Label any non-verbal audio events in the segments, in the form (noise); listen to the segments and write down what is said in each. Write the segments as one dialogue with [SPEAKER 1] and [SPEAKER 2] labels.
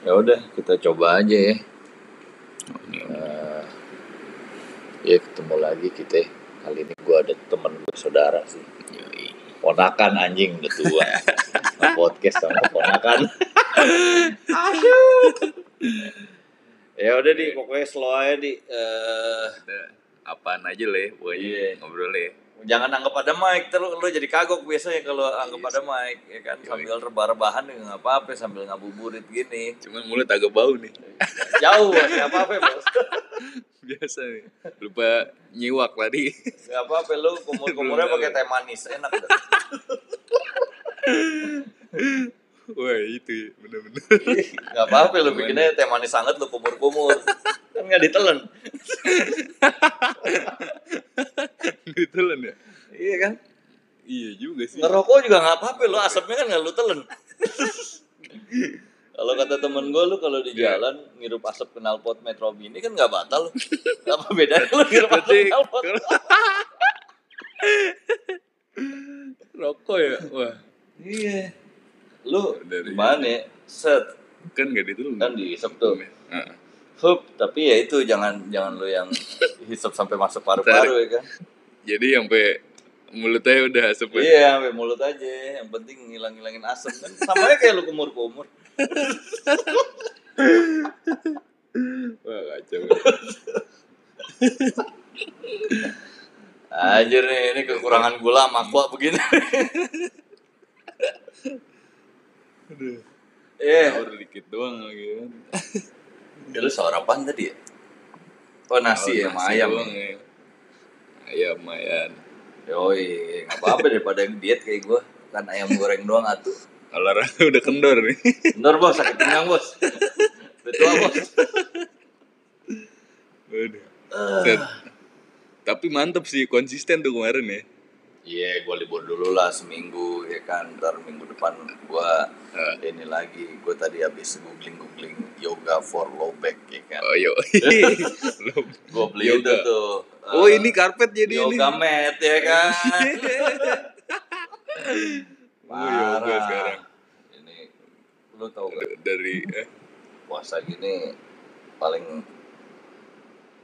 [SPEAKER 1] ya udah kita coba aja ya Eh, ya ketemu lagi kita kali ini gua ada teman bersaudara sih ponakan anjing udah tua podcast sama ponakan ya udah di pokoknya slow aja di Eh,
[SPEAKER 2] apaan aja leh pokoknya
[SPEAKER 1] Iya.
[SPEAKER 2] ngobrol leh
[SPEAKER 1] jangan anggap ada mic terus lu jadi kagok biasanya kalau anggap ada mic ya kan sambil rebah-rebahan juga nggak apa-apa sambil ngabuburit gini
[SPEAKER 2] cuman mulut agak bau nih
[SPEAKER 1] jauh bos nggak apa-apa bos
[SPEAKER 2] biasa nih lupa nyiwak tadi
[SPEAKER 1] nggak apa-apa lu kumur-kumurnya
[SPEAKER 2] Belum tahu.
[SPEAKER 1] pakai teh manis enak dah.
[SPEAKER 2] (laughs) wah itu ya, bener-bener
[SPEAKER 1] nggak apa-apa lu bikinnya teh manis sangat lu kumur-kumur kan nggak ditelan
[SPEAKER 2] (laughs) ditelan ya
[SPEAKER 1] iya kan
[SPEAKER 2] iya juga sih
[SPEAKER 1] ngerokok juga nggak apa-apa lu asapnya kan nggak lu telan kalau kata temen gue lu kalau di
[SPEAKER 2] Iya.
[SPEAKER 1] jalan ngirup asap knalpot metro mini kan nggak batal apa bedanya (laughs) lu ngirup asap
[SPEAKER 2] berarti
[SPEAKER 1] knalpot
[SPEAKER 2] rokok ya wah
[SPEAKER 1] iya lu
[SPEAKER 2] Dari-
[SPEAKER 1] gimana ya set
[SPEAKER 2] kan gak ditelan Nah,
[SPEAKER 1] kan dihisap tuh
[SPEAKER 2] Heeh.
[SPEAKER 1] Hup, tapi ya itu jangan jangan lu yang hisap sampai masuk paru-paru ya kan
[SPEAKER 2] jadi sampai mulutnya udah asap ya?
[SPEAKER 1] Iya, sampai mulut aja. Yang penting ngilang-ngilangin asap kan. Sama aja kayak lu kumur-kumur.
[SPEAKER 2] wah
[SPEAKER 1] (laughs)
[SPEAKER 2] kacau
[SPEAKER 1] Anjir nih, ini kekurangan gula sama aqua begini.
[SPEAKER 2] Aduh,
[SPEAKER 1] (laughs) Iya.
[SPEAKER 2] sahur dikit doang lagi kan
[SPEAKER 1] Ya, lu sahur apaan tadi ya? Oh, nasi ya, sama ayam.
[SPEAKER 2] doang ya. ayam ayam
[SPEAKER 1] Yoi, nggak apa-apa daripada diet kayak gua. Kan ayam goreng doang atuh.
[SPEAKER 2] olahraga (laughs) udah kendor nih
[SPEAKER 1] Bener bos, sakit pinggang bos. Betul bos.
[SPEAKER 2] Waduh.
[SPEAKER 1] Eh,
[SPEAKER 2] Set. Tapi mantep sih konsisten tuh kemarin ya.
[SPEAKER 1] Iya, gua libur dulu lah seminggu ya kan. Ntar minggu depan gua
[SPEAKER 2] Ah.
[SPEAKER 1] ini lagi. Gua tadi habis googling-googling yoga for low back ya kan.
[SPEAKER 2] Oh (laughs) yo. Belum.
[SPEAKER 1] Gue beli itu
[SPEAKER 2] Yoga.
[SPEAKER 1] tuh.
[SPEAKER 2] Oh
[SPEAKER 1] eh,
[SPEAKER 2] ini karpet jadi ini.
[SPEAKER 1] yoga mat ya
[SPEAKER 2] (laughs)
[SPEAKER 1] kan.
[SPEAKER 2] Oh, yoga sekarang.
[SPEAKER 1] Ini lu tau gak
[SPEAKER 2] D- Dari eh,
[SPEAKER 1] puasa gini paling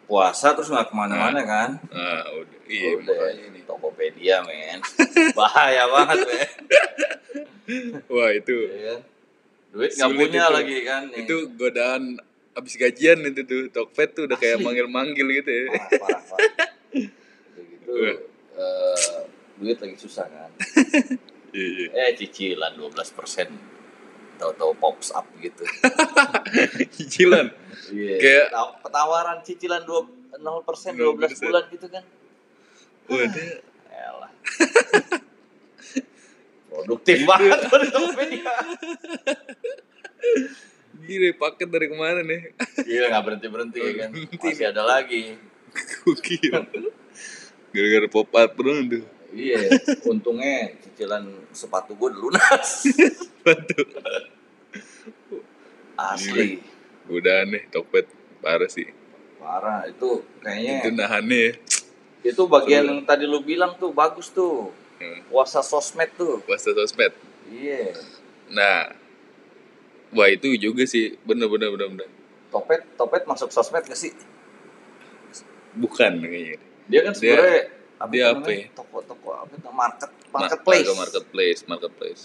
[SPEAKER 1] puasa terus nggak kemana-mana kan?
[SPEAKER 2] ah, udah. Iya,
[SPEAKER 1] Udah
[SPEAKER 2] makanya.
[SPEAKER 1] ini Tokopedia men, (laughs) bahaya banget men.
[SPEAKER 2] Wah itu
[SPEAKER 1] Ya kan? Duit nggak
[SPEAKER 2] Sulit
[SPEAKER 1] punya
[SPEAKER 2] Iya. itu.
[SPEAKER 1] lagi kan? nih.
[SPEAKER 2] itu godaan abis gajian itu tuh Tokped tuh udah kayak manggil-manggil gitu ya.
[SPEAKER 1] parah parah. parah. Udah gitu
[SPEAKER 2] Udah.
[SPEAKER 1] eh, duit lagi susah kan?
[SPEAKER 2] (laughs) Iya,
[SPEAKER 1] Eh
[SPEAKER 2] iya.
[SPEAKER 1] cicilan 12 persen, tahu-tahu pops up gitu.
[SPEAKER 2] (laughs) Cicilan.
[SPEAKER 1] Iya.
[SPEAKER 2] Kayak-
[SPEAKER 1] Taw- Tawaran cicilan 2 0% 12
[SPEAKER 2] 0%.
[SPEAKER 1] bulan gitu kan.
[SPEAKER 2] Wah, dia-
[SPEAKER 1] Elah. (laughs) Produktif banget gua di Tokopedia.
[SPEAKER 2] gila paket dari kemarin ya. (laughs)
[SPEAKER 1] Gila enggak Iya, berhenti-berhenti ya kan.
[SPEAKER 2] Berhenti.
[SPEAKER 1] Masih ada lagi.
[SPEAKER 2] Gokil. (laughs) Gara-gara pop up doang tuh.
[SPEAKER 1] Iya, untungnya cicilan sepatu gua udah (laughs) lunas. Asli.
[SPEAKER 2] Godaan nih Tokped parah sih.
[SPEAKER 1] Parah itu nah,
[SPEAKER 2] Itu
[SPEAKER 1] kayaknya
[SPEAKER 2] nahannya ya.
[SPEAKER 1] itu bagian yang tadi lu bilang tuh bagus tuh.
[SPEAKER 2] Hmm.
[SPEAKER 1] Puasa sosmed tuh.
[SPEAKER 2] Puasa sosmed.
[SPEAKER 1] Iya.
[SPEAKER 2] Nah, wah itu juga sih, bener bener bener bener.
[SPEAKER 1] Topet, Topet masuk sosmed gak sih?
[SPEAKER 2] Bukan kayaknya.
[SPEAKER 1] Dia kan
[SPEAKER 2] Dia-
[SPEAKER 1] sebenarnya apa itu
[SPEAKER 2] dia apa
[SPEAKER 1] namanya?
[SPEAKER 2] ya?
[SPEAKER 1] Toko-toko apa itu? Market,
[SPEAKER 2] Ma-
[SPEAKER 1] marketplace.
[SPEAKER 2] agak Nah, marketplace, marketplace.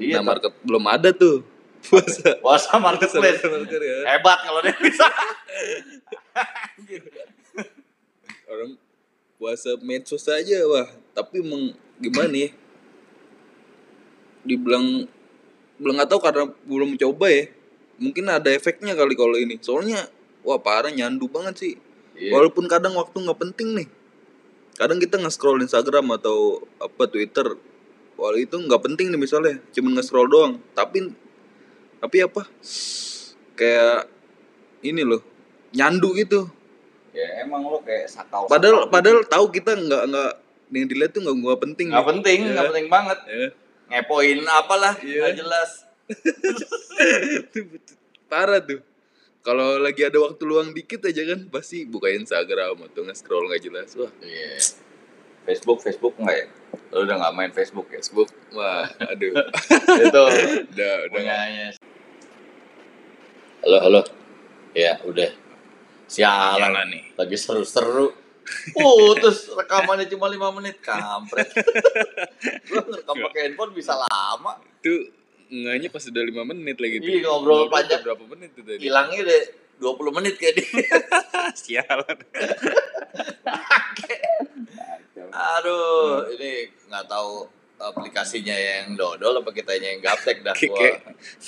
[SPEAKER 1] Iya.
[SPEAKER 2] nah,
[SPEAKER 1] toko-
[SPEAKER 2] market belum ada tuh (laughs) puasa.
[SPEAKER 1] (laughs) Puasa marketplace.
[SPEAKER 2] Puasa market ya.
[SPEAKER 1] Hebat kalau dia
[SPEAKER 2] (laughs)
[SPEAKER 1] bisa.
[SPEAKER 2] Orang puasa medsos aja wah, tapi emang gimana ya? Dibilang belum nggak tahu karena belum coba ya. Mungkin ada efeknya kali kalau ini. Soalnya wah parah nyandu banget sih. Walaupun kadang waktu nggak penting nih. Kadang kita nge-scroll Instagram atau apa Twitter. Walau itu nggak penting nih misalnya, cuman nge-scroll doang. Tapi tapi apa? Kayak ini loh, nyandu gitu.
[SPEAKER 1] Ya emang lo kayak sakau.
[SPEAKER 2] Padahal padahal tahu kita nggak nggak yang dilihat tuh nggak nggak penting.
[SPEAKER 1] nggak penting,
[SPEAKER 2] Iya.
[SPEAKER 1] nggak penting banget.
[SPEAKER 2] Ya. (laughs)
[SPEAKER 1] Ngepoin apalah,
[SPEAKER 2] Iya.
[SPEAKER 1] nggak jelas.
[SPEAKER 2] Parah tuh. Kalau lagi ada waktu luang dikit aja kan pasti buka Instagram atau nge-scroll nggak jelas. Wah,
[SPEAKER 1] Iya. Facebook, Facebook nggak ya? Lo udah nggak main Facebook
[SPEAKER 2] (laughs)
[SPEAKER 1] ya?
[SPEAKER 2] Facebook. (laughs) Wah, aduh.
[SPEAKER 1] Itu
[SPEAKER 2] udah udah
[SPEAKER 1] punyanya. Halo, halo. Ya, udah. Sialan.
[SPEAKER 2] Jalan nih.
[SPEAKER 1] Lagi seru-seru. Putus rekamannya cuma 5 menit. Kampret. Lu ngerekam pakai handphone bisa lama.
[SPEAKER 2] Itu enggaknya pas udah 5 menit lagi tuh.
[SPEAKER 1] Iya, ngobrol panjang.
[SPEAKER 2] udah Berapa menit tuh tadi?
[SPEAKER 1] Hilangnya deh 20 menit kayak dia.
[SPEAKER 2] Iya, Sialan. Hmm.
[SPEAKER 1] Aduh, ini nggak tahu aplikasinya yang dodol apa kitanya yang gaptek dah
[SPEAKER 2] (laughs) Kayak-
[SPEAKER 1] gua.
[SPEAKER 2] kayak-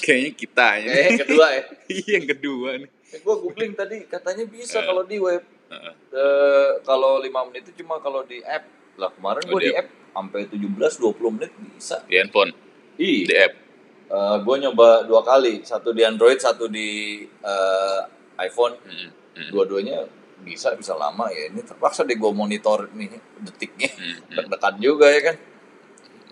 [SPEAKER 2] Kayaknya kita aja.
[SPEAKER 1] Kayaknya yang kedua ya.
[SPEAKER 2] (laughs) Iya, yang kedua nih.
[SPEAKER 1] Eh, gua googling tadi katanya bisa
[SPEAKER 2] Eh.
[SPEAKER 1] kalau di web.
[SPEAKER 2] Heeh.
[SPEAKER 1] Eh, kalau 5 menit itu cuma kalau di app. Lah kemarin
[SPEAKER 2] Oh,
[SPEAKER 1] gua
[SPEAKER 2] di
[SPEAKER 1] di app sampai 17 20 menit bisa.
[SPEAKER 2] Di handphone,
[SPEAKER 1] Ih.
[SPEAKER 2] di app.
[SPEAKER 1] Eh, gua nyoba dua kali, satu di Android, satu di eh, iPhone.
[SPEAKER 2] Mm, mm,
[SPEAKER 1] Dua-duanya bisa bisa lama ya. Ini terpaksa deh gua monitor nih detiknya.
[SPEAKER 2] mm, mm.
[SPEAKER 1] deg-degan juga ya kan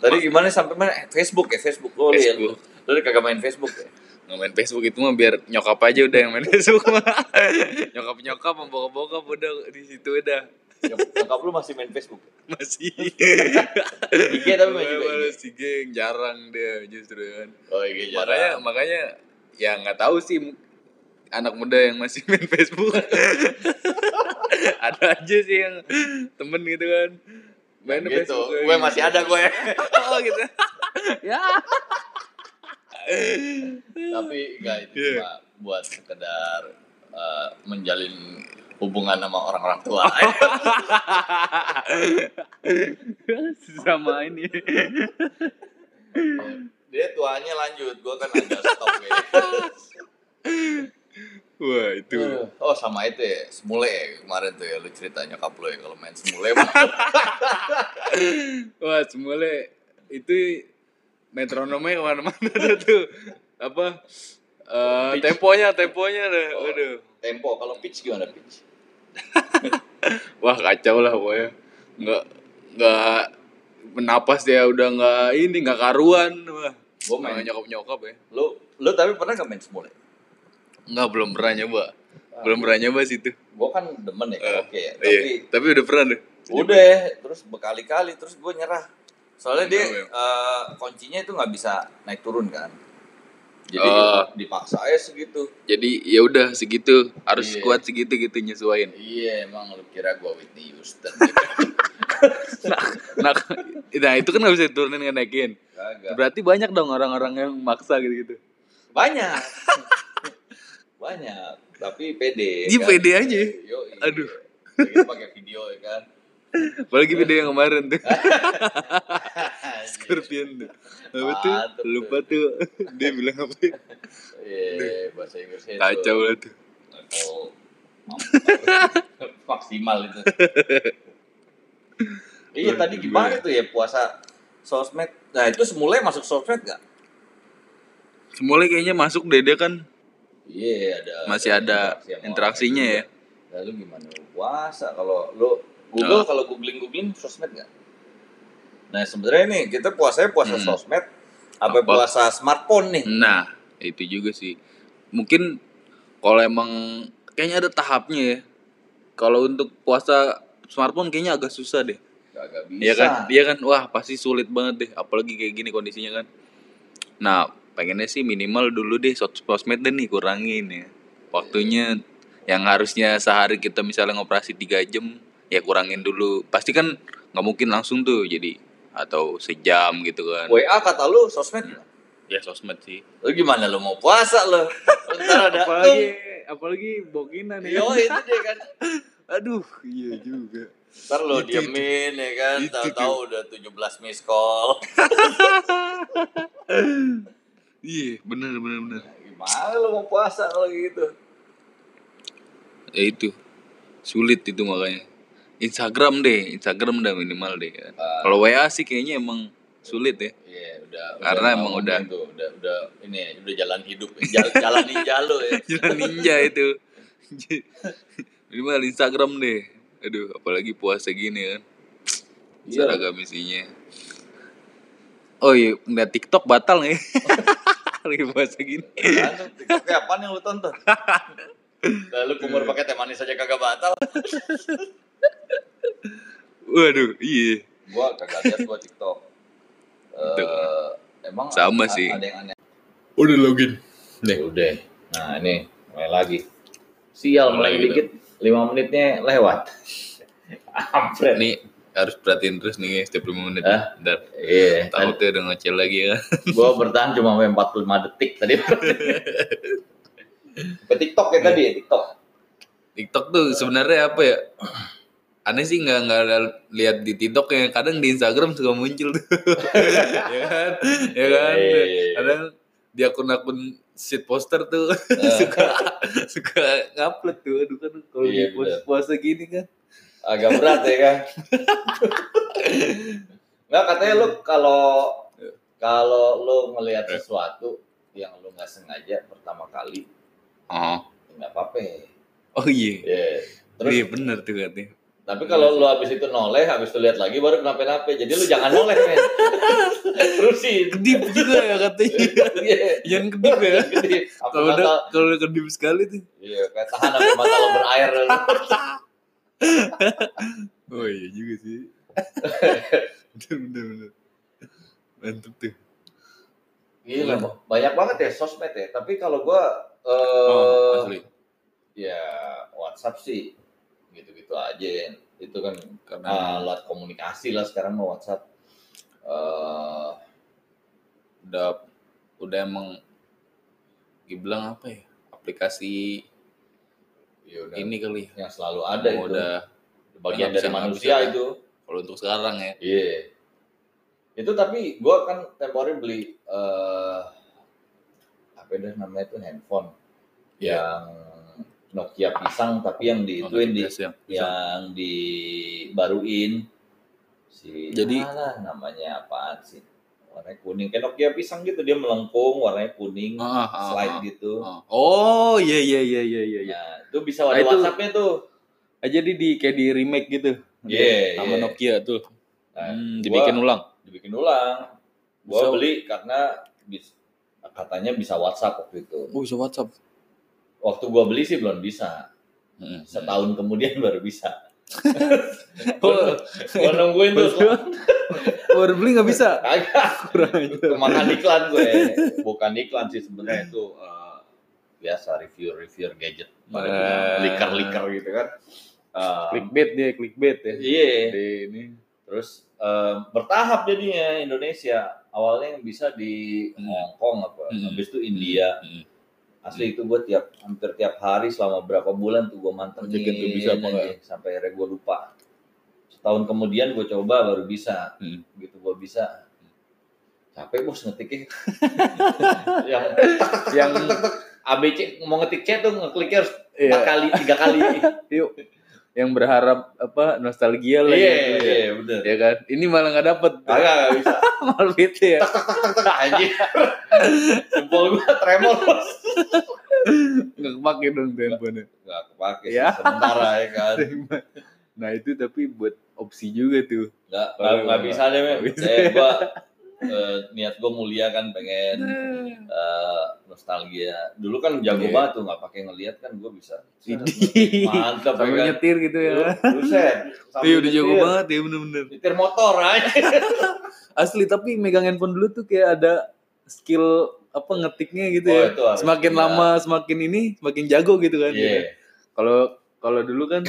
[SPEAKER 1] tadi gimana sampai mana Eh, Facebook ya Facebook lo lihat
[SPEAKER 2] Facebook.
[SPEAKER 1] lo udah kagak main Facebook ya
[SPEAKER 2] Nggak main Facebook itu mah biar nyokap aja udah yang main (laughs) Facebook mah. nyokap nyokap, bokap bokap udah di situ udah
[SPEAKER 1] Nyok- nyokap Ya, lu masih main Facebook
[SPEAKER 2] masih.
[SPEAKER 1] IG Iya, tapi main juga IG.
[SPEAKER 2] Malah si geng jarang dia justru kan.
[SPEAKER 1] oh IG
[SPEAKER 2] makanya
[SPEAKER 1] jarang
[SPEAKER 2] makanya ya nggak tahu sih m- anak muda yang masih (laughs) main Facebook ada aja sih yang temen gitu kan main
[SPEAKER 1] Yang gitu
[SPEAKER 2] Facebook kayak
[SPEAKER 1] gue
[SPEAKER 2] gitu.
[SPEAKER 1] masih ada gue
[SPEAKER 2] (laughs) oh gitu (laughs) ya
[SPEAKER 1] tapi enggak itu
[SPEAKER 2] Iya.
[SPEAKER 1] cuma buat sekedar eh, menjalin hubungan sama orang-orang tua
[SPEAKER 2] (laughs) sama ini
[SPEAKER 1] dia tuanya lanjut gue kan ada stop ya
[SPEAKER 2] wah itu
[SPEAKER 1] oh sama itu ya semule ya kemarin tuh ya lu cerita nyokap lu ya kalau main semule mah
[SPEAKER 2] wah semula itu metronomnya kemana-mana (laughs) tuh, tuh apa eh, temponya temponya dah aduh
[SPEAKER 1] tempo kalau pitch gimana pitch
[SPEAKER 2] wah kacau lah pokoknya nggak nggak menapas dia udah nggak ini nggak karuan wah
[SPEAKER 1] Gua main.
[SPEAKER 2] nyokap nyokap ya
[SPEAKER 1] lu lu tapi pernah gak main semule
[SPEAKER 2] nggak belum pernah nyoba
[SPEAKER 1] Ah.
[SPEAKER 2] belum pernah nyoba situ
[SPEAKER 1] gue kan demen ya karaoke ya
[SPEAKER 2] iya.
[SPEAKER 1] tapi
[SPEAKER 2] tapi udah pernah deh
[SPEAKER 1] udah terus berkali-kali terus gue nyerah soalnya dia
[SPEAKER 2] Kenapa ya?
[SPEAKER 1] eh, kuncinya itu nggak bisa naik turun kan jadi
[SPEAKER 2] Oh.
[SPEAKER 1] dipaksa aja segitu
[SPEAKER 2] jadi ya udah segitu harus
[SPEAKER 1] Iya.
[SPEAKER 2] kuat segitu gitu nyesuain
[SPEAKER 1] iya emang lu kira gue Whitney Houston gitu
[SPEAKER 2] nah, nah, (laughs) nah, itu kan nggak bisa turunin nggak naikin
[SPEAKER 1] Kagak.
[SPEAKER 2] berarti banyak dong orang-orang yang maksa gitu gitu
[SPEAKER 1] banyak (laughs) banyak tapi pede kan?
[SPEAKER 2] Iya, pede aja.
[SPEAKER 1] Yoi.
[SPEAKER 2] Aduh.
[SPEAKER 1] Lagi pakai video ya kan Iya.
[SPEAKER 2] apalagi video yang kemarin
[SPEAKER 1] (laughs)
[SPEAKER 2] tuh
[SPEAKER 1] Anjir.
[SPEAKER 2] Scorpion tuh apa tuh
[SPEAKER 1] Mantep tuh.
[SPEAKER 2] lupa tuh dia bilang apa ya?
[SPEAKER 1] iya bahasa Inggrisnya itu.
[SPEAKER 2] kacau lah tuh
[SPEAKER 1] level
[SPEAKER 2] (laughs)
[SPEAKER 1] maksimal itu. iya tadi gimana tuh ya puasa sosmed. Nah itu semulai masuk sosmed gak?
[SPEAKER 2] Semula kayaknya masuk deh dia kan
[SPEAKER 1] Iya ada.
[SPEAKER 2] masih ada
[SPEAKER 1] sama
[SPEAKER 2] interaksinya ya.
[SPEAKER 1] Iya, orang juga. Lalu gimana lu puasa kalau lu
[SPEAKER 2] Nah.
[SPEAKER 1] Google kalau googling googling sosmed gak? Nah sebenarnya nih kita puasanya puasa
[SPEAKER 2] Hmm.
[SPEAKER 1] sosmed apa,
[SPEAKER 2] Apa?
[SPEAKER 1] puasa smartphone nih?
[SPEAKER 2] Nah, itu juga sih. Mungkin kalau emang kayaknya ada tahapnya ya. Kalau untuk puasa smartphone kayaknya agak susah deh.
[SPEAKER 1] Gak, bisa.
[SPEAKER 2] Iya kan? Dia kan wah pasti sulit banget deh apalagi kayak gini kondisinya kan. Nah, pengennya sih minimal dulu deh sos- sosmed deh nih kurangin ya. Waktunya yang harusnya sehari kita misalnya ngoperasi 3 jam ya kurangin dulu. Pasti kan nggak mungkin langsung tuh jadi atau sejam gitu kan.
[SPEAKER 1] WA kata lu sosmed. nggak?
[SPEAKER 2] ya sosmed sih
[SPEAKER 1] Lu gimana lu mau puasa lu? Ntar ada "Eh,
[SPEAKER 2] apalagi bokinan ya.
[SPEAKER 1] Yo itu dia kan.
[SPEAKER 2] aduh iya juga
[SPEAKER 1] Ntar lo diemin ya kan,
[SPEAKER 2] Itu
[SPEAKER 1] tahu-tahu udah 17 miss call.
[SPEAKER 2] iya bener bener bener
[SPEAKER 1] Gimana lo mau puasa kalau gitu?
[SPEAKER 2] ya itu sulit itu makanya Instagram deh Instagram udah minimal deh kan.
[SPEAKER 1] Ah.
[SPEAKER 2] kalau WA sih kayaknya emang sulit ya (laughs)
[SPEAKER 1] Iya, udah
[SPEAKER 2] Karena
[SPEAKER 1] bangun
[SPEAKER 2] emang udah.
[SPEAKER 1] itu, udah udah ini ya, udah jalan hidup ya. Jal- jalan ninja lo ya.
[SPEAKER 2] (laughs) jalan ninja itu (laughs) minimal Instagram deh aduh apalagi puasa gini kan
[SPEAKER 1] Iya.
[SPEAKER 2] seragam isinya oh iya nggak TikTok batal nih (laughs) lagi puasa gini
[SPEAKER 1] Kan, TikToknya apaan yang lo tonton? Lalu kumur pakai teh manis aja kagak batal.
[SPEAKER 2] waduh iya
[SPEAKER 1] Gua kagak lihat gua TikTok. Eh,
[SPEAKER 2] Tuh.
[SPEAKER 1] emang
[SPEAKER 2] Sama
[SPEAKER 1] ada,
[SPEAKER 2] sih.
[SPEAKER 1] ada yang aneh.
[SPEAKER 2] udah login
[SPEAKER 1] Nih. Udah. Nah ini mulai lagi. Sial mulai
[SPEAKER 2] Mulai gitu.
[SPEAKER 1] dikit, lima menitnya lewat. Ampret.
[SPEAKER 2] Nih harus perhatiin terus nih guys, setiap 5 menit.
[SPEAKER 1] Hah?
[SPEAKER 2] Ntar
[SPEAKER 1] Iya,
[SPEAKER 2] takutnya udah ngocel lagi ya.
[SPEAKER 1] gue bertahan cuma sampai 45 detik (laughs) tadi. Ke TikTok ya tadi ya, TikTok.
[SPEAKER 2] TikTok tuh sebenarnya apa ya? (clears throat) Aneh sih nggak nggak ada lihat di TikTok ya. Kadang di Instagram suka muncul tuh. (laughs) ya kan? Ya kan?
[SPEAKER 1] Iya, iya, iya.
[SPEAKER 2] Kadang di akun-akun shit poster tuh (laughs)
[SPEAKER 1] Nah.
[SPEAKER 2] suka suka ngupload tuh. Aduh kan kalau
[SPEAKER 1] Iya,
[SPEAKER 2] di puasa, puasa gini kan.
[SPEAKER 1] Agak berat ya kan. Nggak katanya lu kalau kalau lu ngelihat
[SPEAKER 2] Eh.
[SPEAKER 1] sesuatu yang lu nggak sengaja pertama kali
[SPEAKER 2] Oh.
[SPEAKER 1] nggak apa-apa. ya.
[SPEAKER 2] Oh iya.
[SPEAKER 1] Ah. Terus
[SPEAKER 2] Iya bener tuh katanya.
[SPEAKER 1] Tapi kalau lu habis itu noleh, habis lu lihat lagi baru kenapa-napa. Jadi lu jangan noleh, men. Terusin.
[SPEAKER 2] Kedip juga ya
[SPEAKER 1] (laughs)
[SPEAKER 2] katanya.
[SPEAKER 1] Iya.
[SPEAKER 2] Yang kedip ya.
[SPEAKER 1] Jadi, apa
[SPEAKER 2] Kalau
[SPEAKER 1] kata,
[SPEAKER 2] udah kalau udah kedip sekali tuh.
[SPEAKER 1] iya, kayak tahan apa mata lo berair.
[SPEAKER 2] Oh iya juga
[SPEAKER 1] (laughs)
[SPEAKER 2] sih. bener bener bener. Mantep tuh.
[SPEAKER 1] Gila,
[SPEAKER 2] Iya.
[SPEAKER 1] Bang. banyak banget ya sosmed ya. Tapi kalau gua eh
[SPEAKER 2] Oh, asli.
[SPEAKER 1] ya WhatsApp sih gitu-gitu aja. Itu kan
[SPEAKER 2] Karena
[SPEAKER 1] alat komunikasi lah sekarang mau WhatsApp. Eh,
[SPEAKER 2] udah udah emang dibilang apa ya? Aplikasi
[SPEAKER 1] ya udah,
[SPEAKER 2] ini kali. ya.
[SPEAKER 1] yang selalu ada
[SPEAKER 2] Emang
[SPEAKER 1] itu.
[SPEAKER 2] Udah
[SPEAKER 1] Bagian dari
[SPEAKER 2] nggak bisa- nggak
[SPEAKER 1] manusia
[SPEAKER 2] bisa, kan?
[SPEAKER 1] itu.
[SPEAKER 2] kalau untuk sekarang ya.
[SPEAKER 1] Iya. Itu tapi gua kan temporary beli eh apa itu namanya itu handphone
[SPEAKER 2] Iya.
[SPEAKER 1] yang Nokia pisang tapi yang di
[SPEAKER 2] Nonton
[SPEAKER 1] ituin di
[SPEAKER 2] podcast yang-
[SPEAKER 1] yang dibaruin si
[SPEAKER 2] Jadi-
[SPEAKER 1] alah, namanya apaan sih? Warnanya kuning. Kayak Nokia pisang gitu dia melengkung, warnanya kuning,
[SPEAKER 2] Ah, ah, ah,
[SPEAKER 1] slide
[SPEAKER 2] ah,
[SPEAKER 1] gitu.
[SPEAKER 2] ah. Oh iya iya iya iya iya. iya.
[SPEAKER 1] Nah, itu bisa ada
[SPEAKER 2] Nah, itu-
[SPEAKER 1] WhatsApp-nya tuh.
[SPEAKER 2] Ah, Jadi di kayak di remake gitu.
[SPEAKER 1] Iya,
[SPEAKER 2] Sama
[SPEAKER 1] iya.
[SPEAKER 2] Nokia tuh.
[SPEAKER 1] Nah,
[SPEAKER 2] Hmm,
[SPEAKER 1] gua-
[SPEAKER 2] dibikin ulang.
[SPEAKER 1] dibikin ulang. Gua
[SPEAKER 2] Bisa-
[SPEAKER 1] beli karena bis- katanya bisa WhatsApp waktu itu.
[SPEAKER 2] Oh, bisa WhatsApp.
[SPEAKER 1] Waktu gua beli sih belum bisa.
[SPEAKER 2] Heeh.
[SPEAKER 1] Setahun kemudian (laughs) baru
[SPEAKER 2] (laughs)
[SPEAKER 1] bisa.
[SPEAKER 2] Oh,
[SPEAKER 1] Gua nungguin tuh.
[SPEAKER 2] baru beli nggak (laughs) bisa.
[SPEAKER 1] Agak
[SPEAKER 2] Kurang aja.
[SPEAKER 1] kemakan iklan gue. Bukan iklan sih sebenarnya itu eh, biasa review-review gadget. Pada
[SPEAKER 2] Nah.
[SPEAKER 1] bilang Liker-liker gitu kan. Eh,
[SPEAKER 2] Clickbait dia, clickbait ya.
[SPEAKER 1] Iya.
[SPEAKER 2] Di ini.
[SPEAKER 1] Terus eh, bertahap jadinya Indonesia. Awalnya yang bisa di
[SPEAKER 2] Hmm.
[SPEAKER 1] Hong Kong apa,
[SPEAKER 2] Hmm.
[SPEAKER 1] habis itu India,
[SPEAKER 2] Hmm.
[SPEAKER 1] Asli itu gue tiap hampir tiap hari selama berapa bulan tuh gue mantengin
[SPEAKER 2] Ojekin tuh bisa apa
[SPEAKER 1] aja, sampai akhirnya gue lupa. Setahun kemudian gue coba baru bisa.
[SPEAKER 2] Hmm.
[SPEAKER 1] Gitu gue bisa. Capek bos
[SPEAKER 2] (laughs)
[SPEAKER 1] ngetiknya. yang
[SPEAKER 2] Yang
[SPEAKER 1] ABC mau ngetik C tuh ngekliknya harus
[SPEAKER 2] iya,
[SPEAKER 1] empat kali, tiga
[SPEAKER 2] (laughs)
[SPEAKER 1] kali.
[SPEAKER 2] yuk. Yang berharap apa nostalgia lah
[SPEAKER 1] Iya,
[SPEAKER 2] gitu ya.
[SPEAKER 1] iya, Ah, bener.
[SPEAKER 2] Ya kan? Ini malah nggak dapet.
[SPEAKER 1] Agak nggak bisa.
[SPEAKER 2] Malah bete ya.
[SPEAKER 1] Tek, Anjir.
[SPEAKER 2] (laughs)
[SPEAKER 1] Jempol gue tremor bos.
[SPEAKER 2] Nggak kepake dong tuh handphonenya.
[SPEAKER 1] Gak kepake sih,
[SPEAKER 2] Ya.
[SPEAKER 1] sementara ya kan.
[SPEAKER 2] Nah itu tapi buat opsi juga tuh.
[SPEAKER 1] Nggak,
[SPEAKER 2] Oh,
[SPEAKER 1] nggak,
[SPEAKER 2] iya,
[SPEAKER 1] nggak
[SPEAKER 2] iya.
[SPEAKER 1] bisa deh, men.
[SPEAKER 2] Nggak bisa.
[SPEAKER 1] Eh, gua, eh, niat gue mulia kan pengen eh, nostalgia. Dulu kan jago
[SPEAKER 2] Iya.
[SPEAKER 1] banget tuh, nggak pakai ngelihat kan gue bisa.
[SPEAKER 2] Ini.
[SPEAKER 1] Mantap,
[SPEAKER 2] Sambil
[SPEAKER 1] ya kan?
[SPEAKER 2] nyetir gitu ya.
[SPEAKER 1] Lu- lu set. Sambil
[SPEAKER 2] Iya udah jago
[SPEAKER 1] nyetir.
[SPEAKER 2] banget ya bener-bener.
[SPEAKER 1] Nyetir motor aja.
[SPEAKER 2] Asli tapi megang handphone dulu tuh kayak ada skill apa ngetiknya gitu
[SPEAKER 1] Oh,
[SPEAKER 2] ya.
[SPEAKER 1] itu harus,
[SPEAKER 2] Semakin
[SPEAKER 1] iya.
[SPEAKER 2] lama semakin ini semakin jago gitu kan.
[SPEAKER 1] Iya,
[SPEAKER 2] Kalau kalau dulu kan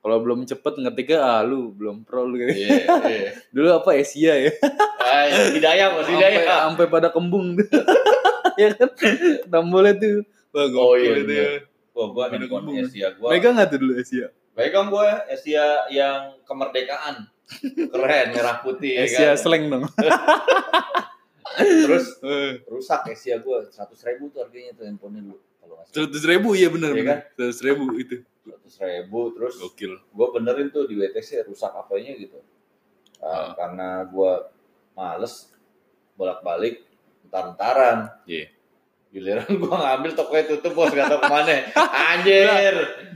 [SPEAKER 2] kalau belum cepet ngetiknya ah lu belum pro lu gitu.
[SPEAKER 1] iya, iya.
[SPEAKER 2] Dulu apa Asia ya.
[SPEAKER 1] Eh, Hidayah, Mas,
[SPEAKER 2] Sampai
[SPEAKER 1] Hidayah.
[SPEAKER 2] sampai pada kembung
[SPEAKER 1] (laughs)
[SPEAKER 2] tuh. ya kan. Tombolnya tuh. Wah,
[SPEAKER 1] Oh,
[SPEAKER 2] gokil
[SPEAKER 1] iya,
[SPEAKER 2] itu
[SPEAKER 1] bener.
[SPEAKER 2] ya.
[SPEAKER 1] Wah, gue
[SPEAKER 2] Bener
[SPEAKER 1] handphone
[SPEAKER 2] kembung.
[SPEAKER 1] Asia gue.
[SPEAKER 2] Megang nggak tuh dulu Asia?
[SPEAKER 1] Megang gue Asia yang kemerdekaan. Keren, merah putih. ya
[SPEAKER 2] Asia
[SPEAKER 1] kan?
[SPEAKER 2] slang dong.
[SPEAKER 1] Terus
[SPEAKER 2] (laughs) Eh,
[SPEAKER 1] rusak Asia gue. 100 ribu tuh harganya tuh handphonenya dulu. Kalau nggak salah.
[SPEAKER 2] Seratus ribu iya bener
[SPEAKER 1] Iya
[SPEAKER 2] bener. Seratus ribu itu.
[SPEAKER 1] 100 ribu. Terus
[SPEAKER 2] Gokil.
[SPEAKER 1] gue benerin tuh di WTC rusak apanya gitu Uh,
[SPEAKER 2] Ah.
[SPEAKER 1] karena gue males bolak-balik entar-entaran
[SPEAKER 2] Iya.
[SPEAKER 1] giliran gue ngambil tokonya tutup bos gak tau
[SPEAKER 2] (laughs)
[SPEAKER 1] kemana anjir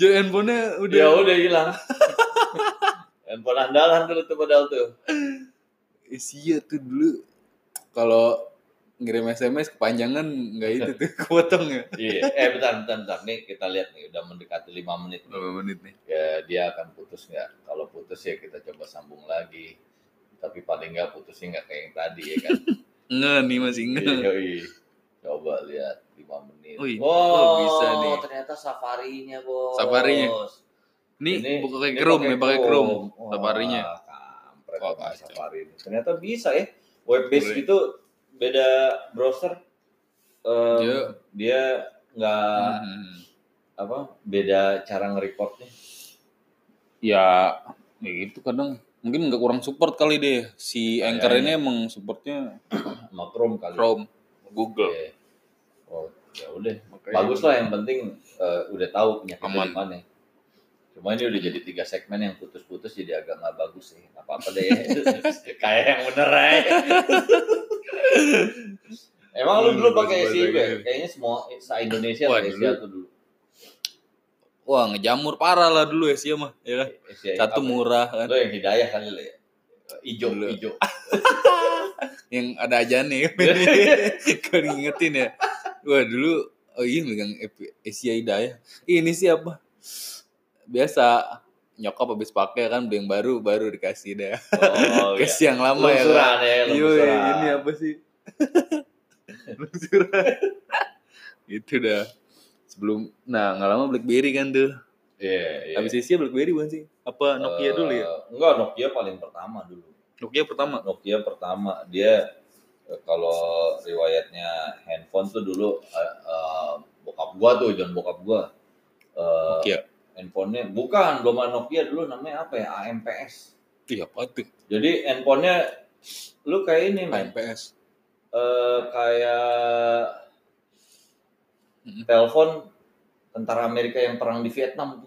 [SPEAKER 2] Jadi handphonenya udah.
[SPEAKER 1] ya udah hilang handphone andalan dulu tuh padahal tuh
[SPEAKER 2] Asia tuh dulu kalau ngirim SMS kepanjangan nggak itu tuh (laughs) kepotong ya.
[SPEAKER 1] iya eh bentar bentar bentar nih kita lihat nih udah mendekati 5 menit nih.
[SPEAKER 2] Berapa menit nih?
[SPEAKER 1] ya dia akan putus nggak kalau putus ya kita coba sambung lagi tapi paling nggak putusnya
[SPEAKER 2] (laughs)
[SPEAKER 1] nggak kayak yang tadi ya kan
[SPEAKER 2] Nge nih masih nge.
[SPEAKER 1] Iya, yoi. Coba lihat 5 menit.
[SPEAKER 2] Iya. Wih,
[SPEAKER 3] Wow,
[SPEAKER 2] oh, bisa nih.
[SPEAKER 3] ternyata safarinya bos.
[SPEAKER 2] Safarinya. Ini, bukan pakai Chrome ya, pakai Chrome.
[SPEAKER 1] Wah,
[SPEAKER 2] safarinya.
[SPEAKER 1] kampret,
[SPEAKER 2] Wah,
[SPEAKER 1] pakai
[SPEAKER 2] kacau.
[SPEAKER 1] safari ini. Ternyata bisa ya. Web based
[SPEAKER 2] Boleh.
[SPEAKER 1] itu beda browser. Em,
[SPEAKER 2] Iya.
[SPEAKER 1] Dia nggak
[SPEAKER 2] Hmm.
[SPEAKER 1] apa beda cara ngerekordnya.
[SPEAKER 2] Ya, ya gitu kadang. Mungkin nggak kurang support kali deh. Si Anchor ini emang supportnya
[SPEAKER 1] sama Chrome kali. ya.
[SPEAKER 2] Chrome, Google.
[SPEAKER 1] Iya. Oh, ya udah.
[SPEAKER 2] Makanya-
[SPEAKER 1] Bagus lah yang penting eh, udah tahu penyakitnya
[SPEAKER 2] Aman.
[SPEAKER 1] di mana. Cuma ini udah jadi tiga segmen yang putus-putus jadi agak nggak bagus sih. Apa apa
[SPEAKER 2] (laughs)
[SPEAKER 1] deh. Kayak yang bener aja. (laughs) Emang lu dulu pakai
[SPEAKER 2] Bagus-bagus
[SPEAKER 1] SIB?
[SPEAKER 2] aja.
[SPEAKER 1] Kayaknya semua se Indonesia
[SPEAKER 2] Wah,
[SPEAKER 1] pakai
[SPEAKER 2] dulu.
[SPEAKER 1] SIA tuh dulu.
[SPEAKER 2] Wah, ngejamur parah lah dulu ya sih mah, ya kan?
[SPEAKER 1] SIA
[SPEAKER 2] Satu
[SPEAKER 1] apa?
[SPEAKER 2] murah kan.
[SPEAKER 1] Lu yang hidayah kali lah ya. Ijo,
[SPEAKER 2] Dulu. (laughs)
[SPEAKER 1] ijo.
[SPEAKER 2] Yang ada aja nih. Kan ngingetin ya. Wah, dulu oh iya megang EP Asia Hidayah. Ih, Ini siapa? Biasa nyokap habis pakai kan beli yang baru baru dikasih deh.
[SPEAKER 1] Oh, iya.
[SPEAKER 2] Kasih yang lama ya.
[SPEAKER 1] Lungsuran
[SPEAKER 2] kan?
[SPEAKER 1] ya,
[SPEAKER 2] Iya,
[SPEAKER 1] lungsuran.
[SPEAKER 2] ini apa sih? (laughs) Lungsuran. Itu Gitu dah. Sebelum nah, nggak lama BlackBerry kan tuh.
[SPEAKER 1] Iya, iya.
[SPEAKER 2] Habis Asia BlackBerry bukan sih? Apa Nokia dulu ya?
[SPEAKER 1] Eh, Enggak, Nokia paling pertama dulu.
[SPEAKER 2] Nokia pertama.
[SPEAKER 1] Nokia pertama dia eh, kalau riwayatnya handphone tuh dulu eh, eh, bokap gua tuh jangan bokap gua Eh,
[SPEAKER 2] Nokia.
[SPEAKER 1] handphonenya bukan belum ada Nokia dulu namanya apa ya AMPS
[SPEAKER 2] Iya, apa tuh?
[SPEAKER 1] jadi handphonenya lu kayak ini men
[SPEAKER 2] MPS.
[SPEAKER 1] Eh, kayak
[SPEAKER 2] Mm-mm.
[SPEAKER 1] telepon tentara Amerika yang perang di Vietnam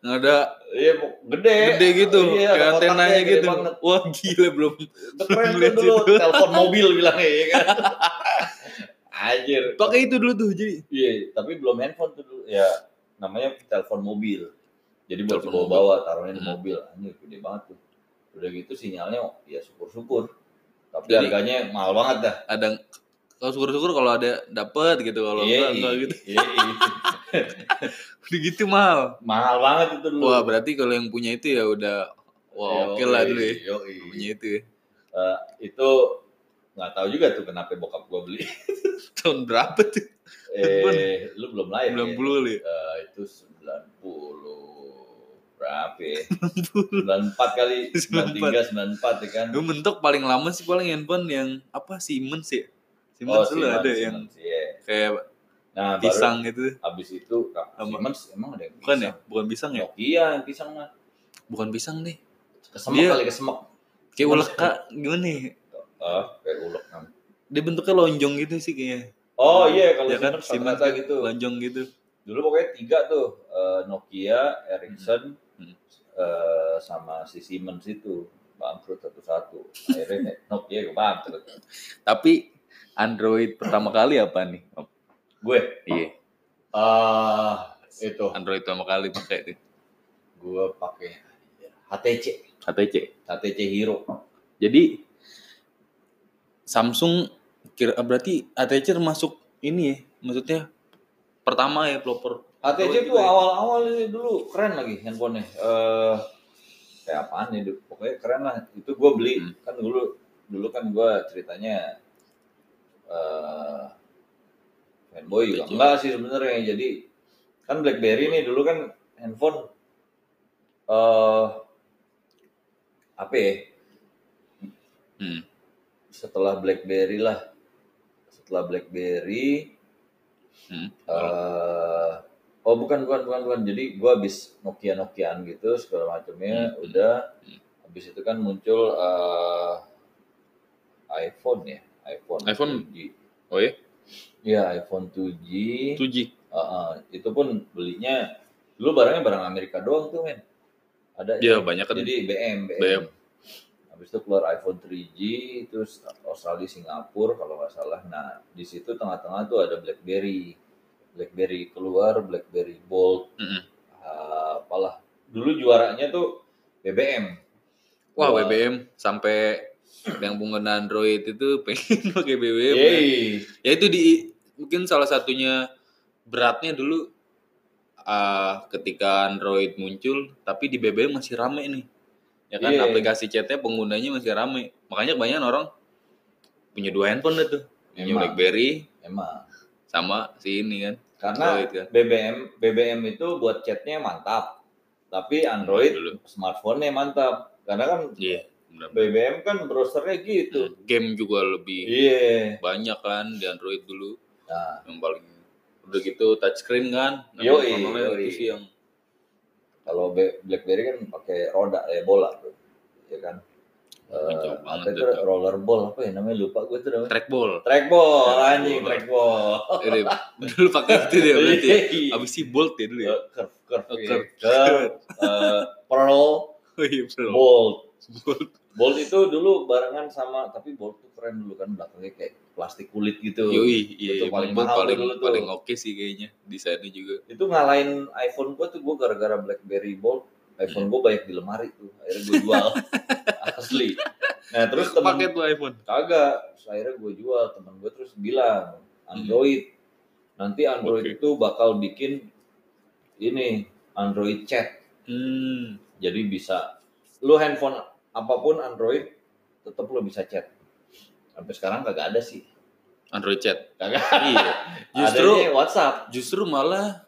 [SPEAKER 2] Nggak ada
[SPEAKER 1] iya bu- gede
[SPEAKER 2] gede gitu
[SPEAKER 1] iya, ada
[SPEAKER 2] kayak
[SPEAKER 1] kotaknya,
[SPEAKER 2] antenanya
[SPEAKER 1] gede
[SPEAKER 2] gitu
[SPEAKER 1] banget.
[SPEAKER 2] wah gila belum
[SPEAKER 1] Itu keren
[SPEAKER 2] (laughs)
[SPEAKER 1] tuh
[SPEAKER 2] Lihat
[SPEAKER 1] dulu
[SPEAKER 2] situ.
[SPEAKER 1] telepon mobil bilangnya ya kan (laughs) anjir
[SPEAKER 2] pakai itu dulu tuh jadi
[SPEAKER 1] Iya, tapi belum handphone tuh dulu. Ya, namanya telepon mobil. Jadi buat bawa
[SPEAKER 2] Telepon
[SPEAKER 1] bawa taruhnya di
[SPEAKER 2] Hmm.
[SPEAKER 1] mobil. Anjir, gede banget tuh. Udah gitu sinyalnya ya syukur-syukur. Tapi
[SPEAKER 2] Jadi-
[SPEAKER 1] harganya mahal banget dah.
[SPEAKER 2] ada kalau syukur-syukur kalau ada dapet gitu kalau enggak enggak gitu (laughs)
[SPEAKER 1] iya, iya.
[SPEAKER 2] udah gitu mahal
[SPEAKER 1] mahal banget itu dulu.
[SPEAKER 2] wah berarti kalau yang punya itu ya udah
[SPEAKER 1] Yoi,
[SPEAKER 2] wah oke lah dulu ya
[SPEAKER 1] yoi.
[SPEAKER 2] punya itu ya (laughs)
[SPEAKER 1] Eh, itu nggak tahu juga tuh kenapa bokap gua
[SPEAKER 2] (laughs)
[SPEAKER 1] beli.
[SPEAKER 2] tahun berapa
[SPEAKER 1] Iya,
[SPEAKER 2] tuh
[SPEAKER 1] eh, lu belum lahir.
[SPEAKER 2] sembilan
[SPEAKER 1] ya?
[SPEAKER 2] puluh kali ya
[SPEAKER 1] Eh, itu 90 berapa ya? 94
[SPEAKER 2] (laughs)
[SPEAKER 1] kali 93 94 ya kan.
[SPEAKER 2] Lu mentok paling lama sih paling handphone yang apa Siemens ya
[SPEAKER 1] Oh,
[SPEAKER 2] Siemens dulu
[SPEAKER 1] Siemens,
[SPEAKER 2] ada ya? yang
[SPEAKER 1] Siemens, iya.
[SPEAKER 2] kayak
[SPEAKER 1] Nah,
[SPEAKER 2] pisang gitu
[SPEAKER 1] baru abis itu Kak,
[SPEAKER 2] Apa?
[SPEAKER 1] Siemens emang ada yang
[SPEAKER 2] bukan ya
[SPEAKER 1] pisang.
[SPEAKER 2] bukan pisang ya
[SPEAKER 1] Nokia yang pisang mah.
[SPEAKER 2] bukan pisang deh
[SPEAKER 1] Kesemek
[SPEAKER 2] Dia-
[SPEAKER 1] kali kesemek.
[SPEAKER 2] kayak uleka gimana ya
[SPEAKER 1] Oh, kayak ulek kan.
[SPEAKER 2] dia bentuknya lonjong gitu sih kayaknya
[SPEAKER 1] Oh iya kalau
[SPEAKER 2] ya kan
[SPEAKER 1] Siemens
[SPEAKER 2] Siemens
[SPEAKER 1] rata-rata
[SPEAKER 2] kan
[SPEAKER 1] gitu.
[SPEAKER 2] lonjong gitu
[SPEAKER 1] Dulu pokoknya tiga tuh eh, Nokia, Ericsson,
[SPEAKER 2] Hmm.
[SPEAKER 1] eh, sama si Siemens itu bangkrut satu-satu. Akhirnya Nokia gue bangkrut.
[SPEAKER 2] tapi Android pertama kali apa nih Om?
[SPEAKER 1] Gue
[SPEAKER 2] iya
[SPEAKER 1] ah itu
[SPEAKER 2] Android pertama kali pakai tuh
[SPEAKER 1] gue pakai HTC,
[SPEAKER 2] HTC
[SPEAKER 1] HTC Hero.
[SPEAKER 2] jadi Samsung kira berarti HTC termasuk ini ya maksudnya pertama ya pelopor
[SPEAKER 1] HTC
[SPEAKER 2] Android
[SPEAKER 1] tuh
[SPEAKER 2] juga ya?
[SPEAKER 1] awal-awal ini dulu keren lagi handphonenya. Eh kayak apaan ya, Du? pokoknya keren lah. Itu gue beli
[SPEAKER 2] Hmm.
[SPEAKER 1] kan dulu dulu kan gue ceritanya eh fanboy juga
[SPEAKER 2] HTC.
[SPEAKER 1] enggak sih sebenarnya. Jadi kan BlackBerry nih dulu kan handphone eh apa ya?
[SPEAKER 2] Hmm.
[SPEAKER 1] Setelah BlackBerry lah, setelah BlackBerry
[SPEAKER 2] Hmm.
[SPEAKER 1] eh oh bukan bukan bukan bukan. Jadi gua habis Nokia Nokiaan gitu segala macamnya
[SPEAKER 2] Hmm.
[SPEAKER 1] udah habis itu kan muncul eh iPhone ya, iPhone.
[SPEAKER 2] iPhone?
[SPEAKER 1] 2G.
[SPEAKER 2] oh ya
[SPEAKER 1] Iya, iPhone 2G.
[SPEAKER 2] 2G
[SPEAKER 1] Eh, eh, itu pun belinya dulu barangnya barang Amerika doang tuh, men. Ada
[SPEAKER 2] Iya, banyak kan.
[SPEAKER 1] Jadi BM, BM.
[SPEAKER 2] BM.
[SPEAKER 1] Habis itu keluar iPhone 3G, terus Australia, Singapura kalau nggak salah. Nah, di situ tengah-tengah tuh ada BlackBerry. BlackBerry keluar, BlackBerry Bold,
[SPEAKER 2] Mm-mm.
[SPEAKER 1] eh, apalah. Dulu juaranya tuh BBM.
[SPEAKER 2] wah
[SPEAKER 1] Wah.
[SPEAKER 2] BBM sampai yang pengguna Android itu (laughs) pengen pakai BBM ya.
[SPEAKER 1] Yeay.
[SPEAKER 2] ya itu di mungkin salah satunya beratnya dulu ah, ketika Android muncul tapi di BBM masih rame nih ya kan
[SPEAKER 1] Iya.
[SPEAKER 2] aplikasi chatnya penggunanya masih rame makanya kebanyakan orang punya dua handphone deh tuh punya
[SPEAKER 1] Emang.
[SPEAKER 2] BlackBerry
[SPEAKER 1] Emang.
[SPEAKER 2] sama si ini kan
[SPEAKER 1] Karena
[SPEAKER 2] Android kan
[SPEAKER 1] BBM BBM itu buat chatnya mantap, tapi Android
[SPEAKER 2] dulu
[SPEAKER 1] smartphone-nya mantap. Karena kan
[SPEAKER 2] iya benar.
[SPEAKER 1] BBM kan browsernya gitu.
[SPEAKER 2] game juga lebih
[SPEAKER 1] Iya.
[SPEAKER 2] banyak kan di Android dulu
[SPEAKER 1] Nah,
[SPEAKER 2] yang paling udah gitu touchscreen kan Nah,
[SPEAKER 1] Yoi,
[SPEAKER 2] normalnya
[SPEAKER 1] yoi.
[SPEAKER 2] itu sih yang
[SPEAKER 1] kalau Be- BlackBerry kan pakai roda ya bola tuh. Ya kan. Eh,
[SPEAKER 2] Jauh
[SPEAKER 1] apa itu
[SPEAKER 2] banget tuh.
[SPEAKER 1] rollerball apa ya namanya lupa gue tuh namanya. (laughs) Ya,
[SPEAKER 2] trackball
[SPEAKER 1] Trackball anjing trackball. (laughs)
[SPEAKER 2] Eh, deh, dulu pakai itu dia berarti ya.
[SPEAKER 1] Iya.
[SPEAKER 2] abis si bolt ya dulu ya
[SPEAKER 1] Eh, curve curve
[SPEAKER 2] Oh,
[SPEAKER 1] iya.
[SPEAKER 2] curve.
[SPEAKER 1] curve eh, pearl
[SPEAKER 2] oh iya bro
[SPEAKER 1] bolt
[SPEAKER 2] Bolt.
[SPEAKER 1] bolt itu dulu barengan sama tapi bolt tuh keren dulu kan belakangnya kayak plastik kulit gitu
[SPEAKER 2] Yoi, iya,
[SPEAKER 1] Itu
[SPEAKER 2] iya,
[SPEAKER 1] paling
[SPEAKER 2] paling
[SPEAKER 1] mahal
[SPEAKER 2] paling,
[SPEAKER 1] dulu tuh.
[SPEAKER 2] paling oke sih kayaknya desainnya juga.
[SPEAKER 1] itu ngalahin iPhone gua tuh gua gara-gara BlackBerry bolt iPhone gua banyak di lemari tuh akhirnya gua
[SPEAKER 2] (laughs)
[SPEAKER 1] jual asli nah terus temen
[SPEAKER 2] pakai tuh iPhone.
[SPEAKER 1] kagak terus akhirnya gue jual temen gue terus bilang Android nanti Android
[SPEAKER 2] Oke.
[SPEAKER 1] itu bakal bikin ini Android chat
[SPEAKER 2] Hmm,
[SPEAKER 1] jadi bisa lu handphone apapun Android tetap lu bisa chat sampai sekarang kagak ada sih
[SPEAKER 2] Android chat.
[SPEAKER 1] kagak (laughs)
[SPEAKER 2] iya.
[SPEAKER 1] adanya
[SPEAKER 2] Justru
[SPEAKER 1] WhatsApp
[SPEAKER 2] justru malah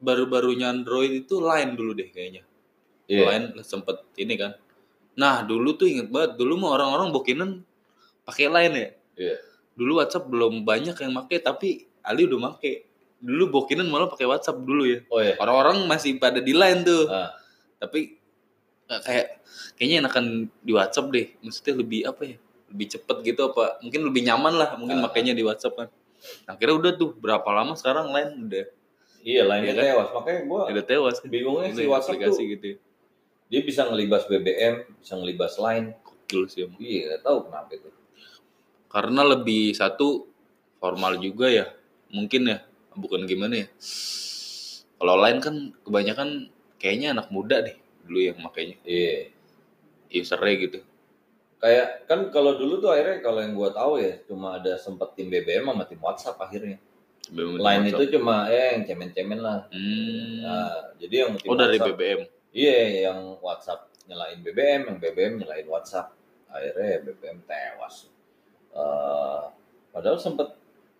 [SPEAKER 2] baru-barunya Android itu Line dulu deh kayaknya.
[SPEAKER 1] Iya.
[SPEAKER 2] Line sempet ini kan. Nah, dulu tuh inget banget, dulu mah orang-orang bokinan pakai Line ya.
[SPEAKER 1] Iya.
[SPEAKER 2] Dulu WhatsApp belum banyak yang make tapi Ali udah make. Dulu bokinan malah pakai WhatsApp dulu ya.
[SPEAKER 1] oh ya
[SPEAKER 2] Orang-orang masih pada di Line tuh.
[SPEAKER 1] Ah.
[SPEAKER 2] Tapi nggak kayak kayaknya enakan di WhatsApp deh. Maksudnya lebih apa ya? Lebih cepet gitu apa? Mungkin lebih nyaman lah. Mungkin
[SPEAKER 1] Ah.
[SPEAKER 2] makanya di WhatsApp kan. Nah, akhirnya udah tuh berapa lama sekarang Line udah
[SPEAKER 1] iya lainnya
[SPEAKER 2] Iya kan?
[SPEAKER 1] tewas makanya gue
[SPEAKER 2] udah tewas. kan.
[SPEAKER 1] bingungnya si
[SPEAKER 2] Ini
[SPEAKER 1] WhatsApp
[SPEAKER 2] aplikasi
[SPEAKER 1] tuh
[SPEAKER 2] gitu. ya.
[SPEAKER 1] dia bisa ngelibas BBM bisa ngelibas Line
[SPEAKER 2] Gokil sih emang.
[SPEAKER 1] iya gak tahu kenapa itu
[SPEAKER 2] Karena lebih satu formal juga ya. Mungkin ya. Bukan gimana ya. Kalau Line kan kebanyakan kayaknya anak muda deh dulu yang makanya
[SPEAKER 1] iya
[SPEAKER 2] usernya gitu.
[SPEAKER 1] kayak kan kalau dulu tuh akhirnya kalau yang gua tahu ya cuma ada sempat tim BBM sama tim WhatsApp akhirnya.
[SPEAKER 2] BBM
[SPEAKER 1] Lain
[SPEAKER 2] WhatsApp.
[SPEAKER 1] itu cuma eh yang cemen-cemen lah.
[SPEAKER 2] Hmm.
[SPEAKER 1] Nah, jadi yang tim
[SPEAKER 2] oh dari
[SPEAKER 1] WhatsApp,
[SPEAKER 2] BBM.
[SPEAKER 1] iya yang WhatsApp nyalain BBM, yang BBM nyalain WhatsApp. Akhirnya ya BBM tewas. Eh, padahal sempat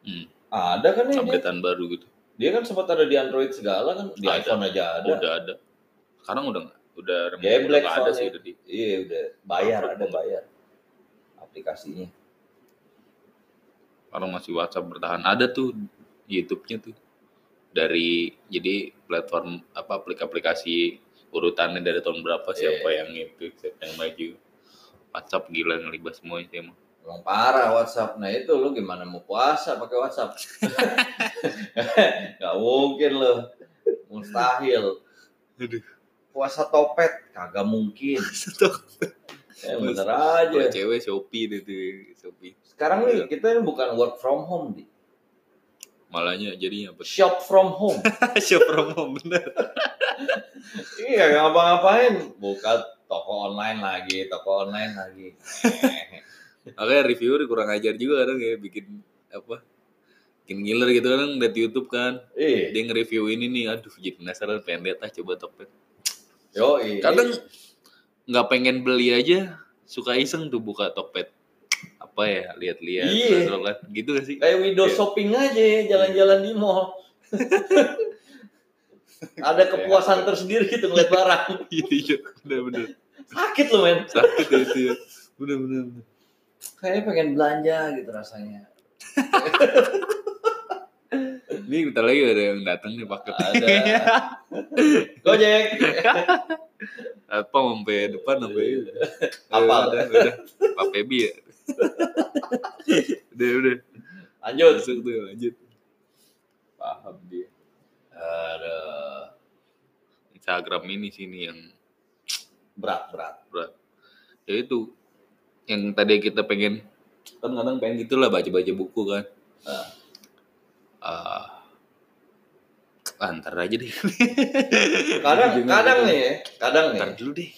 [SPEAKER 2] Hmm.
[SPEAKER 1] ada kan ya dia,
[SPEAKER 2] Updatean baru gitu.
[SPEAKER 1] dia kan sempat ada di Android segala kan di
[SPEAKER 2] Ada. Oh.
[SPEAKER 1] iPhone aja ada.
[SPEAKER 2] udah ada sekarang udah nggak udah remote,
[SPEAKER 1] Geblek
[SPEAKER 2] udah nggak ada
[SPEAKER 1] soalnya.
[SPEAKER 2] sih udah di
[SPEAKER 1] Iya udah bayar ada bayar aplikasinya.
[SPEAKER 2] orang masih WhatsApp bertahan ada tuh YouTube-nya tuh dari jadi platform apa aplikasi urutannya dari tahun berapa siapa yang itu siapa yang maju WhatsApp gila ngelibas semua sih emang
[SPEAKER 1] Emang parah WhatsApp. Nah itu lu gimana mau puasa pakai WhatsApp? Gak mungkin lu. Mustahil.
[SPEAKER 2] Aduh.
[SPEAKER 1] Puasa topet kagak mungkin. Ya, bener aja.
[SPEAKER 2] kalau cewek Shopee deh tuh Shopee
[SPEAKER 1] Sekarang nih kita ini bukan work from home, di.
[SPEAKER 2] malahnya
[SPEAKER 1] (laughs)
[SPEAKER 2] jadinya apa
[SPEAKER 1] Shop from home.
[SPEAKER 2] shop from home bener
[SPEAKER 1] iya, gak ngapa-ngapain. Buka toko online lagi, toko online lagi.
[SPEAKER 2] makanya reviewer kurang ajar juga kadang ya bikin apa bikin ngiler gitu kan liat YouTube kan
[SPEAKER 1] Ih,
[SPEAKER 2] dia nge-review ini nih aduh jadi penasaran pengen lihat ah coba Tokped
[SPEAKER 1] yo,
[SPEAKER 2] kadang nggak pengen beli aja suka iseng tuh buka Tokped apa ya lihat-lihat
[SPEAKER 1] Iya.
[SPEAKER 2] scroll-scrollan. gitu gak sih (laughs)
[SPEAKER 1] Kayak window
[SPEAKER 2] Iya.
[SPEAKER 1] shopping aja, ya, jalan-jalan di (laughs) mall. Ada kepuasan tersendiri gitu ngeliat barang.
[SPEAKER 2] iya iya bener-bener
[SPEAKER 1] Sakit lu men.
[SPEAKER 2] sakit ya itu ya bener-bener
[SPEAKER 1] Kayaknya pengen belanja gitu rasanya.
[SPEAKER 2] ini bentar lagi ada yang datang nih paket
[SPEAKER 1] Ada. (laughs) Gojek.
[SPEAKER 2] apa sampai depan sampai
[SPEAKER 1] Iya. Apa?
[SPEAKER 2] udah udah Pak Febi ya udah udah
[SPEAKER 1] Lanjut.
[SPEAKER 2] masuk tuh lanjut
[SPEAKER 1] Paham dia. Ada
[SPEAKER 2] Instagram ini sini yang
[SPEAKER 1] berat berat.
[SPEAKER 2] ya itu yang tadi kita pengen kan kadang pengen gitulah baca-baca buku kan
[SPEAKER 1] Ah.
[SPEAKER 2] Ah. antar ah, aja deh
[SPEAKER 1] (laughs) Kadang kadang nih, ya, kadang
[SPEAKER 2] antar
[SPEAKER 1] nih.
[SPEAKER 2] dulu deh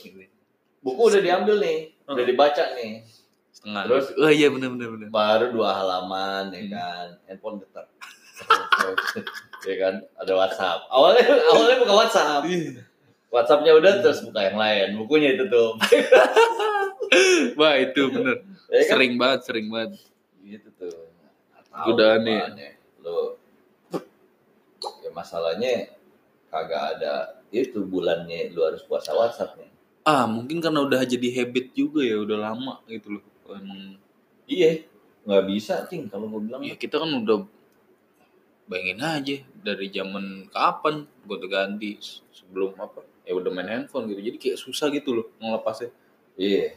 [SPEAKER 1] Buku udah diambil nih, udah dibaca nih.
[SPEAKER 2] setengah
[SPEAKER 1] Terus?
[SPEAKER 2] oh iya benar benar benar
[SPEAKER 1] Baru dua halaman ya
[SPEAKER 2] Hmm.
[SPEAKER 1] kan. Handphone getar. (laughs) ya kan ada WhatsApp. Awalnya awalnya buka WhatsApp. WhatsAppnya udah terus buka yang lain, bukunya itu tuh.
[SPEAKER 2] (laughs)
[SPEAKER 1] (laughs)
[SPEAKER 2] wah itu benar
[SPEAKER 1] Ya kan?
[SPEAKER 2] sering banget sering banget
[SPEAKER 1] Gitu tuh. Nggak tahu
[SPEAKER 2] Godaan ya.
[SPEAKER 1] apaan ya. Lu ya masalahnya kagak ada itu bulannya lu harus puasa WhatsApp nih.
[SPEAKER 2] ah mungkin karena udah jadi habit juga ya udah lama gitu loh emang
[SPEAKER 1] Iya, nggak bisa cing kalau gua bilang.
[SPEAKER 2] ya kita kan udah bayangin aja dari zaman kapan gue ganti se- sebelum apa ya udah main handphone gitu jadi kayak susah gitu loh ngelepasnya
[SPEAKER 1] Iya.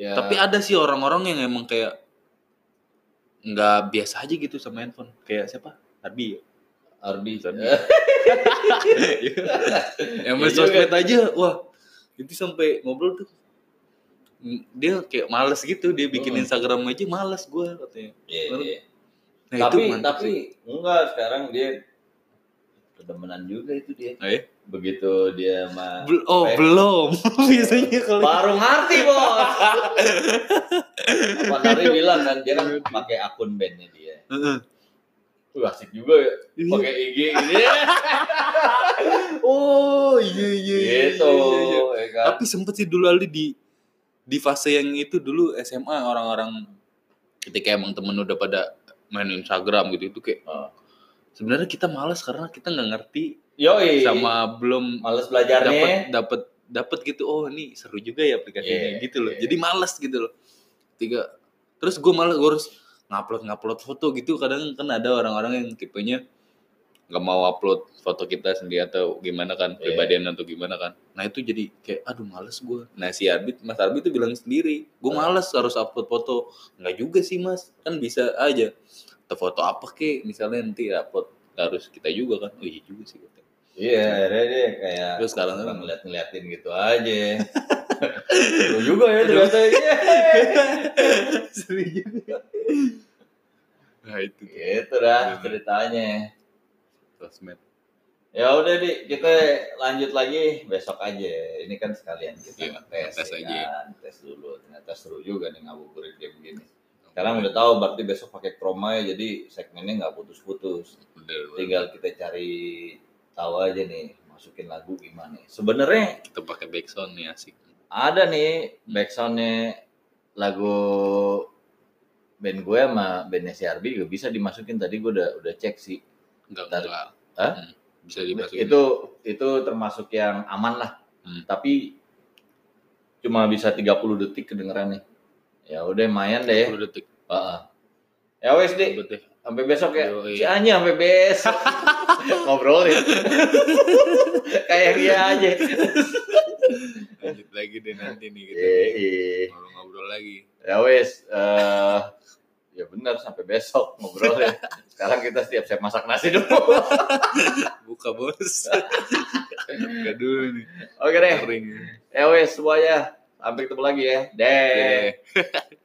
[SPEAKER 1] Ya,
[SPEAKER 2] tapi ada sih orang-orang yang emang kayak nggak biasa aja gitu sama handphone kayak siapa Arbi ya?
[SPEAKER 1] Ardi,
[SPEAKER 2] yang main
[SPEAKER 1] Iya
[SPEAKER 2] sosmed aja wah itu sampai ngobrol tuh mm, dia kayak males gitu dia bikin
[SPEAKER 1] Hmm.
[SPEAKER 2] Instagram aja males gue katanya
[SPEAKER 1] (laughs) Iya, iya.
[SPEAKER 2] nah
[SPEAKER 1] tapi
[SPEAKER 2] mantap
[SPEAKER 1] tapi
[SPEAKER 2] sih.
[SPEAKER 1] enggak sekarang dia kedemenan juga itu dia.
[SPEAKER 2] Oh, iya?
[SPEAKER 1] Begitu dia mah
[SPEAKER 2] Bel- oh
[SPEAKER 1] Eh.
[SPEAKER 2] belum (laughs) biasanya kalau
[SPEAKER 1] baru ngerti bos. Pak Tari bilang kan dia
[SPEAKER 2] Iya,
[SPEAKER 1] kan pakai akun bandnya dia.
[SPEAKER 2] Heeh.
[SPEAKER 1] Tuh asik juga ya.
[SPEAKER 2] Iya.
[SPEAKER 1] Pakai gitu IG ini.
[SPEAKER 2] oh iya iya iya,
[SPEAKER 1] gitu.
[SPEAKER 2] iya, iya, iya.
[SPEAKER 1] ya kan?
[SPEAKER 2] tapi sempet sih dulu Ali di di fase yang itu dulu SMA orang-orang ketika emang temen udah pada main Instagram gitu itu kayak
[SPEAKER 1] Oh.
[SPEAKER 2] sebenarnya kita malas karena kita nggak ngerti
[SPEAKER 1] Yoi.
[SPEAKER 2] sama belum
[SPEAKER 1] males belajarnya.
[SPEAKER 2] dapat dapat dapat gitu oh ini seru juga ya
[SPEAKER 1] Iya,
[SPEAKER 2] aplikasinya gitu loh
[SPEAKER 1] iya.
[SPEAKER 2] jadi malas gitu loh tiga terus gue malah gue harus ngupload ngupload foto gitu kadang kan ada orang-orang yang tipenya nggak mau upload foto kita sendiri atau gimana kan
[SPEAKER 1] Iya.
[SPEAKER 2] pribadian atau gimana kan nah itu jadi kayak aduh males gue nah si Arbit Mas Arbit tuh bilang sendiri gue
[SPEAKER 1] Nah.
[SPEAKER 2] males harus upload foto nggak juga sih Mas kan bisa aja atau foto apa kek misalnya nanti upload harus kita juga kan oh iya juga sih kata.
[SPEAKER 1] Iya, akhirnya dia kayak
[SPEAKER 2] Terus sekarang
[SPEAKER 1] orang
[SPEAKER 2] kan-
[SPEAKER 1] ngeliat-ngeliatin gitu aja. Lu juga ya ternyata. Iya.
[SPEAKER 2] nah itu tuh.
[SPEAKER 1] gitu dah ceritanya.
[SPEAKER 2] sosmed
[SPEAKER 1] Ya udah di kita lanjut lagi besok aja. Ini kan sekalian
[SPEAKER 2] Iya,
[SPEAKER 1] kita ngetes
[SPEAKER 2] ngetes
[SPEAKER 1] ya
[SPEAKER 2] aja.
[SPEAKER 1] kan. Tes dulu. Ternyata seru juga nih ngabuburit kayak begini. Sekarang udah tahu berarti besok pakai Chroma ya jadi segmennya nggak putus-putus.
[SPEAKER 2] Bener, bener.
[SPEAKER 1] Tinggal kita cari tahu aja nih masukin lagu gimana. Sebenarnya
[SPEAKER 2] kita pakai backsound nih asik
[SPEAKER 1] ada nih
[SPEAKER 2] Hmm.
[SPEAKER 1] backsoundnya lagu band gue sama bandnya si Arbi juga bisa dimasukin tadi gue udah udah cek sih
[SPEAKER 2] enggak
[SPEAKER 1] Bentar.
[SPEAKER 2] enggak
[SPEAKER 1] Hah?
[SPEAKER 2] Hmm, bisa dimasukin
[SPEAKER 1] itu itu termasuk yang aman lah
[SPEAKER 2] Hmm.
[SPEAKER 1] tapi cuma bisa 30 detik kedengeran nih ya udah lumayan deh
[SPEAKER 2] 10 detik
[SPEAKER 1] Heeh. ya wes deh
[SPEAKER 2] ribet deh
[SPEAKER 1] sampai besok ya
[SPEAKER 2] Yoi.
[SPEAKER 1] si Anya sampai besok (laughs) ngobrolin (laughs) kayak dia aja
[SPEAKER 2] lanjut lagi deh nanti nih
[SPEAKER 1] Iya,
[SPEAKER 2] kita nih.
[SPEAKER 1] Yoi.
[SPEAKER 2] ngobrol-ngobrol lagi
[SPEAKER 1] Ya wes, eh, ya benar sampai besok ngobrol ya. Sekarang kita setiap siap masak nasi dulu. (laughs)
[SPEAKER 2] buka bos (laughs) buka dulu nih
[SPEAKER 1] Oke deh,
[SPEAKER 2] kering
[SPEAKER 1] ya wes semuanya. Sampai ketemu lagi ya. Deh.
[SPEAKER 2] Oke.